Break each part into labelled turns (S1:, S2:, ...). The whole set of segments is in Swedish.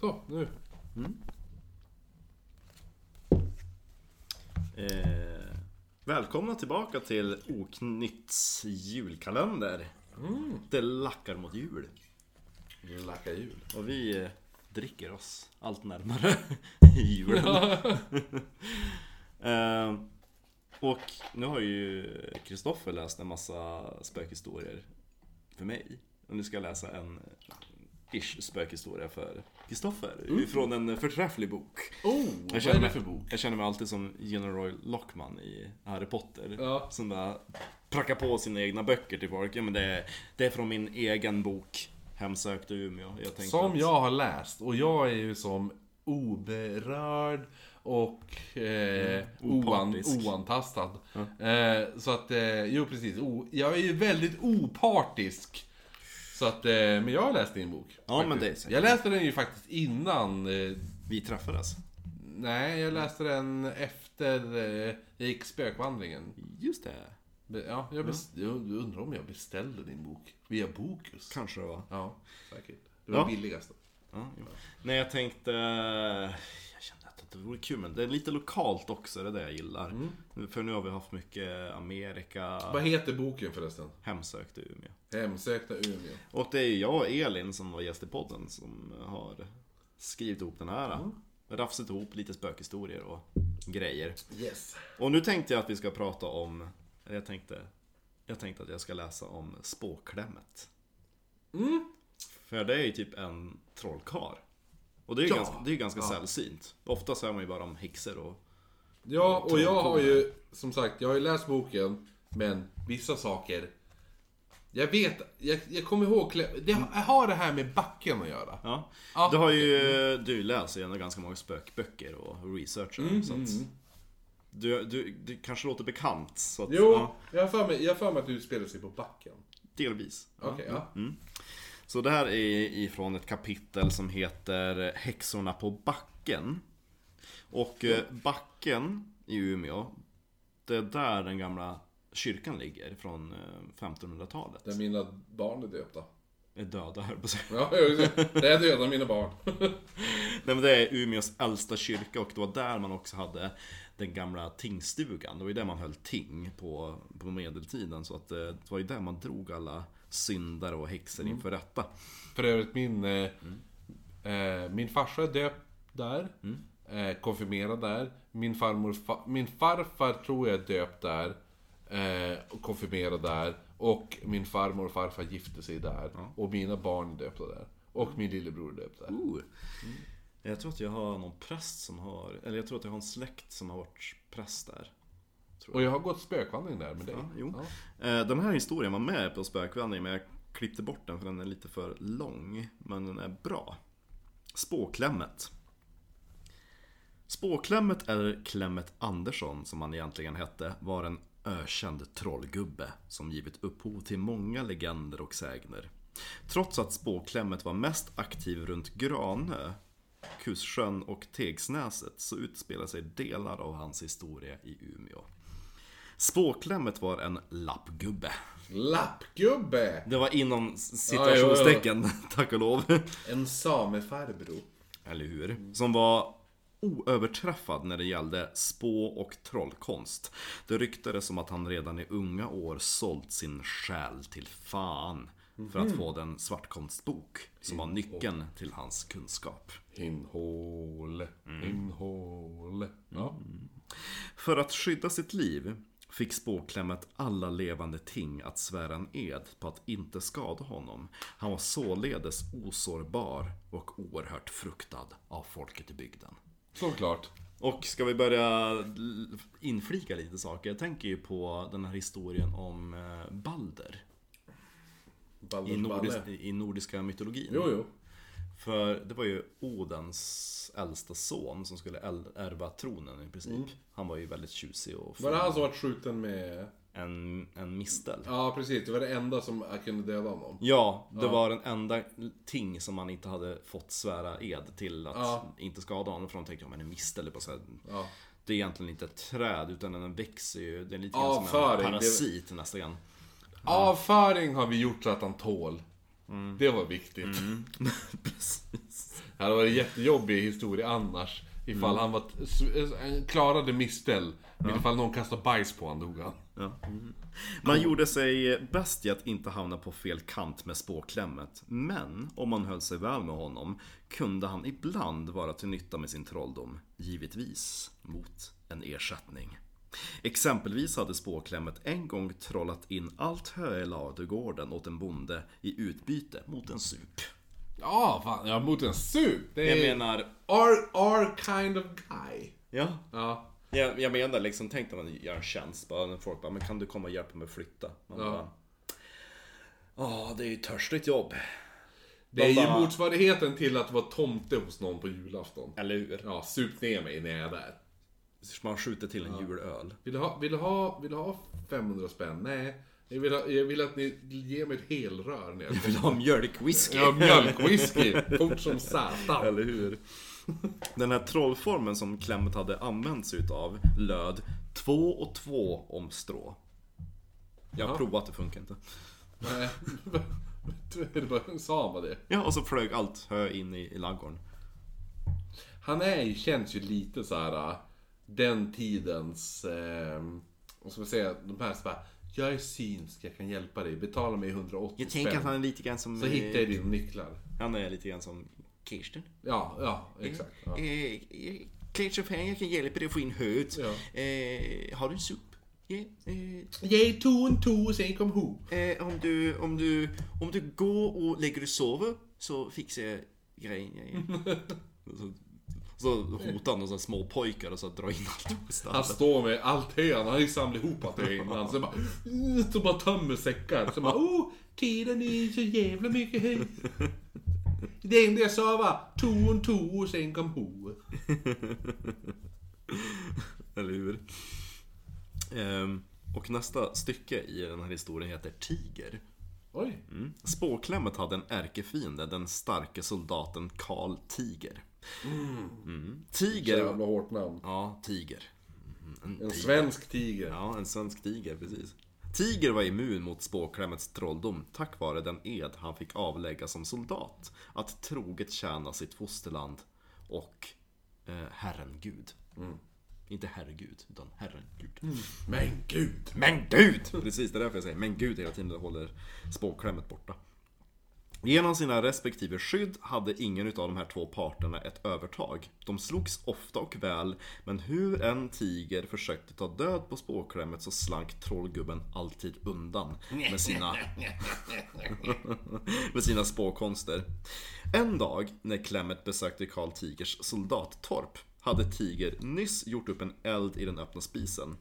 S1: Så, nu.
S2: Eh, välkomna tillbaka till Oknytts julkalender. Det lackar mot jul.
S1: Lacka jul.
S2: Och vi eh, dricker oss allt närmare julen. eh, och nu har ju Kristoffer läst en massa spökhistorier för mig. Och nu ska jag läsa en eh, ish spökhistoria för Kristoffer. Från en förträfflig bok.
S1: Oh,
S2: Jag
S1: vad
S2: känner,
S1: är det
S2: mig,
S1: för bok?
S2: jag känner mig alltid som General Lockman i Harry Potter.
S1: Ja.
S2: Som bara prackar på sina egna böcker till folk. Ja, men det, är, det är från min egen bok Hemsökt i Umeå. Jag tänkte
S1: Som
S2: att-
S1: jag har läst och jag är ju som oberörd och eh, oan,
S2: Opartisk.
S1: oantastad. Eh, så att, eh, jo precis. O, jag är ju väldigt opartisk. Så att, eh, men jag har läst din bok.
S2: Ja, men
S1: faktiskt.
S2: det är säkert.
S1: Jag läste den ju faktiskt innan. Eh,
S2: Vi träffades.
S1: nej, jag läste den efter eh, jag gick spökvandringen.
S2: Just det.
S1: Be- Ja,
S2: Mm.
S1: jag, best- jag undrar om jag beställde din bok via Bokus.
S2: Kanske det var.
S1: Ja, säkert. Det var
S2: Ja.
S1: billigast.
S2: Ja, jo. Nej, jag tänkte... Jag kände att det vore kul, men det är lite lokalt också. Det är det jag gillar.
S1: Mm.
S2: För nu har vi haft mycket Amerika,
S1: Vad heter boken förresten?
S2: Hemsökt i Umeå.
S1: Hemsökta Umeå.
S2: Och det är ju jag och Elin som var gäst i podden som har skrivit ihop den här.
S1: Mm.
S2: Rafsat ihop lite spökhistorier och grejer.
S1: Yes.
S2: Och nu tänkte jag att vi ska prata om, eller jag tänkte, jag tänkte att jag ska läsa om spåklämmet.
S1: Mm.
S2: För det är ju typ en trollkar. Och det är ju
S1: Ja.
S2: ganska, det är ju ganska sällsynt. Ofta hör man ju bara om häxor och...
S1: Ja, och jag har ju som sagt, jag har ju läst boken, men vissa saker. Jag vet, jag, jag kommer ihåg, klä- det har- har det här med backen att göra.
S2: Ja.
S1: Ja.
S2: Du Mm. har ju, du läser ju ändå ganska många spökböcker och researchar.
S1: Mm.
S2: så att, du, du, du kanske låter bekant. Så att,
S1: Jo,
S2: ja,
S1: jag har för mig, jag har för mig att du spelar sig på backen.
S2: delvis. Ja. Mm.
S1: Okej, ja.
S2: Så det här är ifrån ett kapitel som heter Häxorna på backen. Och eh, backen i Umeå, det är där den gamla kyrkan ligger från eh, 1500-talet.
S1: Där mina barn är döpta.
S2: Är döda här på sig.
S1: Ja, just det. Det är döda mina barn.
S2: Nej men det är Umeås äldsta kyrka och det var där man också hade den gamla tingstugan. Det var ju där man höll ting på, på medeltiden. Så att eh, det var ju där man drog alla syndare och häxor inför rätta.
S1: För övrigt min, eh, eh, min farsa är döpt där. Eh, konfirmerad där. Min, farmor, fa, min farfar tror jag är döpt där. Eh, och konfirmerad där. Och min farmor och farfar gifte sig där. Och mina barn är döpta där. Och min lillebror är döpt där.
S2: Ooh. Jag tror att jag har någon präst som har, eller jag tror att jag har en släkt som har varit präst där.
S1: Och jag har gått spökvandring där med dig.
S2: Ja, jo. Eh, Den här historien var med på spökvandring men jag klippte bort den för den är lite för lång. Men den är bra. Spåklämmet. Spåklämmet, eller Klämmet Andersson som han egentligen hette, var en ökänd trollgubbe som givit upphov till många legender och sägner. Trots att Spåklämmet var mest aktiv runt Granö, Kussjön och Tegsnäset så utspelar sig delar av hans historia i Umeå. Spåklämmet var en lappgubbe.
S1: Lappgubbe!
S2: Det var inom citationstecken, tack och lov.
S1: En samefarbror.
S2: Eller hur? Som var oöverträffad när det gällde spå och trollkonst. Det ryktades som att han redan i unga år sålt sin själ till fan för att få den svartkonstbok som var nyckeln till hans kunskap.
S1: Hinhåle, hinhåle. Ja.
S2: För att skydda sitt liv fick spåklämmet alla levande ting att svära en ed på att inte skada honom. Han var således osårbar och oerhört fruktad av folket i bygden.
S1: Såklart.
S2: Och ska vi börja l- inflika lite saker? Jag tänker ju på den här historien om eh, Balder i,
S1: Balders
S2: nordis-
S1: balle.
S2: i nordiska mytologin.
S1: Jo, jo.
S2: För det var ju Odens äldsta son som skulle el- ärva tronen i princip.
S1: Mm.
S2: Han var ju väldigt tjusig och
S1: Var det
S2: fin.
S1: han som vart skjuten med...
S2: en, en mistel.
S1: Ja, precis. Det var det enda som jag kunde döda honom.
S2: Ja, det var den enda ting som man inte hade fått svära ed till att
S1: Ja.
S2: inte skada honom. För de tänkte, ja men en mistel är på så här,
S1: Ja.
S2: Det är egentligen inte ett träd utan den växer ju. Det är lite
S1: Ja,
S2: grann som en
S1: föring, det-
S2: parasit nästan.
S1: Avföring har vi gjort så att han tål. Det var viktigt.
S2: Mm. Precis. Mm.
S1: Det hade varit en jättejobbig historia annars. Ifall han var t- s- eh, klarade misställ. Men ifall någon kastade bajs på honom dog han.
S2: Ja. Man gjorde sig bäst i att inte hamna på fel kant med spåklämmet. Men om man höll sig väl med honom kunde han ibland vara till nytta med sin trolldom. Givetvis mot en ersättning. Exempelvis hade spåklämmet en gång trollat in allt hö i ladugården åt en bonde i utbyte mot en sup.
S1: Ja, fan. Ja, mot en sup. Det
S2: Jag
S1: är
S2: menar,
S1: our, our kind of guy.
S2: ja.
S1: Ja.
S2: Jag, jag menar liksom, tänk när man gör en tjänst. Bara, när folk bara, men kan du komma och hjälpa mig att flytta? Man
S1: Ja.
S2: bara, ja det är ju ett törstigt jobb.
S1: Det är ju
S2: bara-
S1: motsvarigheten till att vara tomte hos någon på julafton.
S2: Eller hur?
S1: Ja, sup ner mig när jag är där.
S2: Man skjuter till en julöl.
S1: Vill du ha, vill du ha, vill du ha 500 spänn? Nej. Jag vill, ha, jag vill att ni ger mig ett helrör när jag
S2: Vill
S1: kommer.
S2: du ha mjölkwhisky?
S1: Ja, mjölkwhisky. Fort som satan.
S2: Eller hur? Den här trollformen som Klemmet hade använt sig utav löd två och två om strå. Jag har
S1: Ja.
S2: provat, det funkar inte.
S1: Nej. Det bara- Sa man det?
S2: Ja, och så flög allt hö in i, i ladugården.
S1: Han är, ju- känns ju lite så här äh, den tidens, eh, vad ska man säga, de här som bara, jag är synsk, jag kan hjälpa dig, betala mig 180
S2: Jag
S1: spänn.
S2: tänker att han är lite grann som... eh,
S1: Så hittar jag dina nycklar.
S2: Han är lite grann som Kirsten.
S1: Ja, ja, exakt. Ja.
S2: Mm. Eh, Klär jag kan hjälpa dig att få in höet. Eh,
S1: Ja.
S2: har du en sup?
S1: Ge to en to, sen kom ho.
S2: Eh, om, du, om, du, om du går och lägger dig och sover så fixar jag grejen. jag- så, så hotar han några små pojkar och så drar in allt på stan.
S1: Han står med allt hö, han har ju samlat ihop allt hö innan. Sen bara, "Ugh", så bara tömmer säckar. Så bara, oh, tiden är ju så jävla mycket hö. Det enda jag sa var, to en to, och sen kom ho.
S2: Eller hur? Ehm, och nästa stycke i den här historien heter Tiger.
S1: Oj.
S2: Mm. Spåklämmet hade en ärkefiende, den starke soldaten Karl Tiger. Mm. Tiger...
S1: Jävla hårt namn.
S2: Ja, Tiger.
S1: En svensk tiger.
S2: Ja, en svensk tiger, precis. Tiger var immun mot spåklämmets trolldom tack vare den ed han fick avlägga som soldat. Att troget tjäna sitt fosterland och eh, Herren Gud. Inte herregud, utan Herren Gud.
S1: Men gud.
S2: Men Gud! Precis, det är därför jag säger men Gud hela tiden. Det håller spåklämmet borta. Genom sina respektive skydd hade ingen utav de här två parterna ett övertag. De slogs ofta och väl, men hur en tiger försökte ta död på spåklämmet så slank trollgubben alltid undan med sina, med sina spåkonster. En dag när Klemmet besökte Karl Tigers soldattorp hade Tiger nyss gjort upp en eld i den öppna spisen.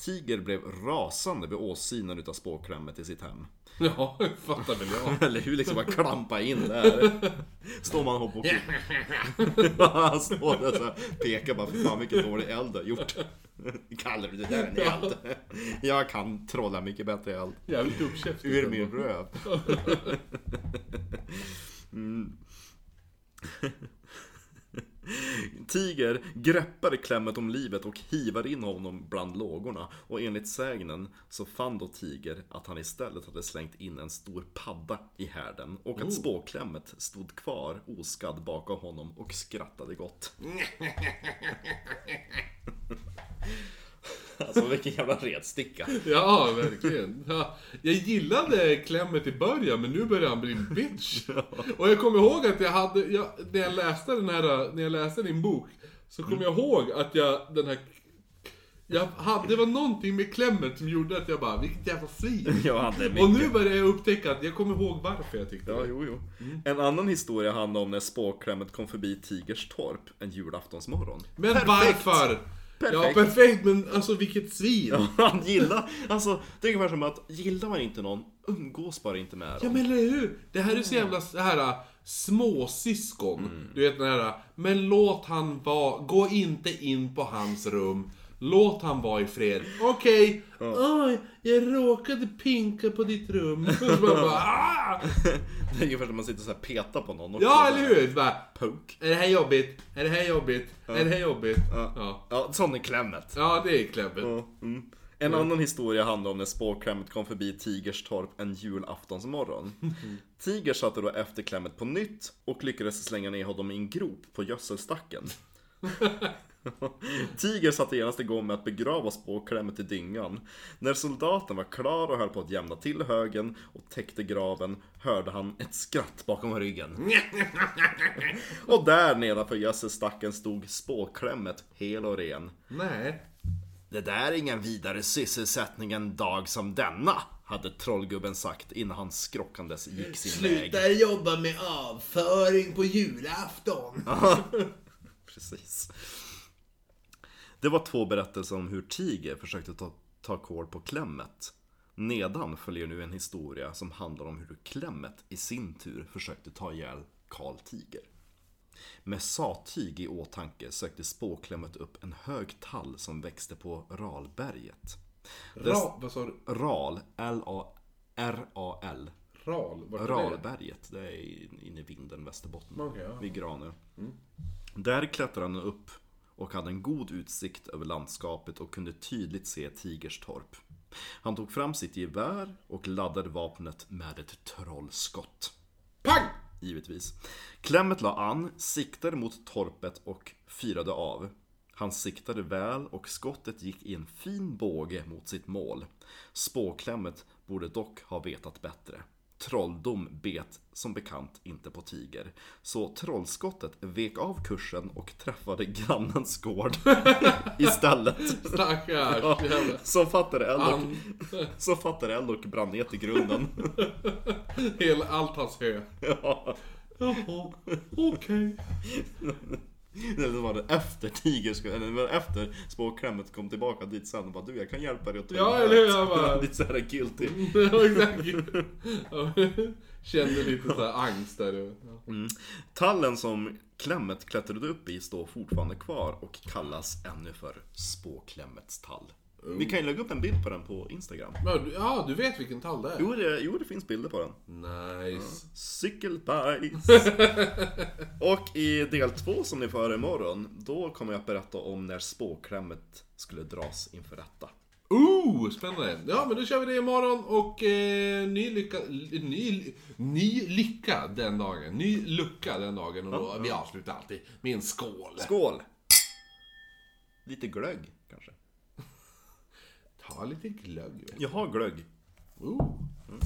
S2: Tiger blev rasande vid åsynen utav spåklämmet i sitt hem.
S1: Ja, fattar väl jag.
S2: Eller hur? Liksom bara klampa in där. Står man och hoppar och Han står där så här, pekar bara, för fan vilken dålig eld du har gjort. Kallar du det där en eld? Jag kan trolla mycket bättre eld.
S1: Jävligt uppkäftig.
S2: Ur min röv. Mm. Tiger greppade klämmet om livet och hivade in honom bland lågorna. Och enligt sägnen så fann då Tiger att han istället hade slängt in en stor padda i härden. Och att spåklämmet stod kvar oskadd bakom honom och skrattade gott. Alltså vilken jävla retsticka.
S1: Ja, verkligen. Ja, jag gillade klämmet i början, men nu börjar han bli en bitch. Och jag kommer ihåg att jag hade, jag, när jag läste den här, när jag läste din bok, så
S2: Mm.
S1: kommer jag ihåg att jag, den här, jag hade, det var någonting med klämmet som gjorde att jag bara, vilket jävla svin.
S2: Jag hade mycket
S1: Och nu börjar jag upptäcka att jag kommer ihåg varför jag tyckte
S2: Ja,
S1: det.
S2: jo, jo.
S1: Mm.
S2: En annan historia handlar om när spåklämmet kom förbi Tigers torp en julaftonsmorgon.
S1: Men varför? Ja,
S2: Perfekt.
S1: perfekt, men alltså vilket svin. Ja,
S2: Han gillar, alltså det är ungefär som att gillar man inte någon, umgås bara inte med dem.
S1: men eller hur? Det här är så jävla så här äh, småsyskon. Du vet den här, äh, men låt han vara, gå inte in på hans rum. Låt han vara i fred. Okej, oj, jag råkade pinka på ditt rum. Så bara, "Ah!"
S2: Det är ungefär som att man sitter så här och petar på någon. också.
S1: ja, eller hur? Så Bara,
S2: Poke.
S1: är det här jobbigt? Är det här jobbigt? Är det här jobbigt? Ja,
S2: Ja, sån är klämmet.
S1: ja det är klämmet.
S2: Mm. En annan historia handlar om när spårklämmet kom förbi Tigerstorp en julaftonsmorgon.
S1: Mm.
S2: Tiger satte då efter klämmet på nytt och lyckades slänga ner honom i en grop på gödselstacken. Tiger satte genast igång med att begrava spåklämmet i dyngan. När soldaten var klar och höll på att jämna till högen och täckte graven hörde han ett skratt bakom ryggen. Och där nedanför gödselstacken stod spåklämmet hel och ren.
S1: Nej.
S2: Det där är ingen vidare sysselsättning en dag som denna, hade trollgubben sagt innan han skrockandes gick sin väg.
S3: jobba med avföring på julafton.
S2: Precis. Det var två berättelser om hur Tiger försökte ta, ta kål på klämmet. Nedan följer nu en historia som handlar om hur klämmet i sin tur försökte ta ihjäl Karl Tiger. Med satyg i åtanke sökte spåklämmet upp en hög tall som växte på Ralberget. Dess-
S1: Ra, vad sa du?
S2: Ral, L-A-R-A-L.
S1: Ral? Vart är det?
S2: Ralberget, det är in- inne i vinden, Västerbotten.
S1: Okej, Mm. ja.
S2: Vid Granö. Där klättrade han upp och hade en god utsikt över landskapet och kunde tydligt se Tigerstorp. Han tog fram sitt gevär och laddade vapnet med ett trollskott.
S1: Pang!
S2: Givetvis. Klämmet la an, siktade mot torpet och firade av. Han siktade väl och skottet gick i en fin båge mot sitt mål. Spåklämmet borde dock ha vetat bättre. Trolldom bet som bekant inte på tiger. Så trollskottet vek av kursen och träffade grannens gård istället.
S1: Stackars jävla...
S2: Som fattade eld och,
S1: Han,
S2: som fattade eld och brann ner till grunden.
S1: hela, allt hans hö.
S2: Ja.
S1: Jaha, okej.
S2: Nej, det var det efter Tiger, skulle- eller det var efter spåklämmet kom tillbaka dit sen och bara du jag kan hjälpa dig att ta
S1: Ja,
S2: det här."
S1: eller hur? Jag bara-
S2: Lite såhär guilty.
S1: Ja, exakt. Ja, Kände lite så här angst där. Ja.
S2: Tallen som klämmet klättrade upp i står fortfarande kvar och kallas ännu för spåklämmets tall.
S1: Oh.
S2: Vi kan ju lägga upp en bild på den på Instagram.
S1: Men, du- ja, du vet vilken tall det är?
S2: Jo det, jo, det finns bilder på den.
S1: Nice.
S2: Cykelbajs! och i del två som ni får höra imorgon, då kommer jag att berätta om när spåklämmet skulle dras inför rätta.
S1: Ooh, spännande. Ja, men då kör vi det imorgon och eh, ny, lycka, ny, ny lycka den dagen. Ny lucka den dagen. Och då, vi avslutar alltid med en skål.
S2: Skål! Lite glögg kanske.
S1: Ta lite glögg. vet du.
S2: Jag har glögg.
S1: Ooh.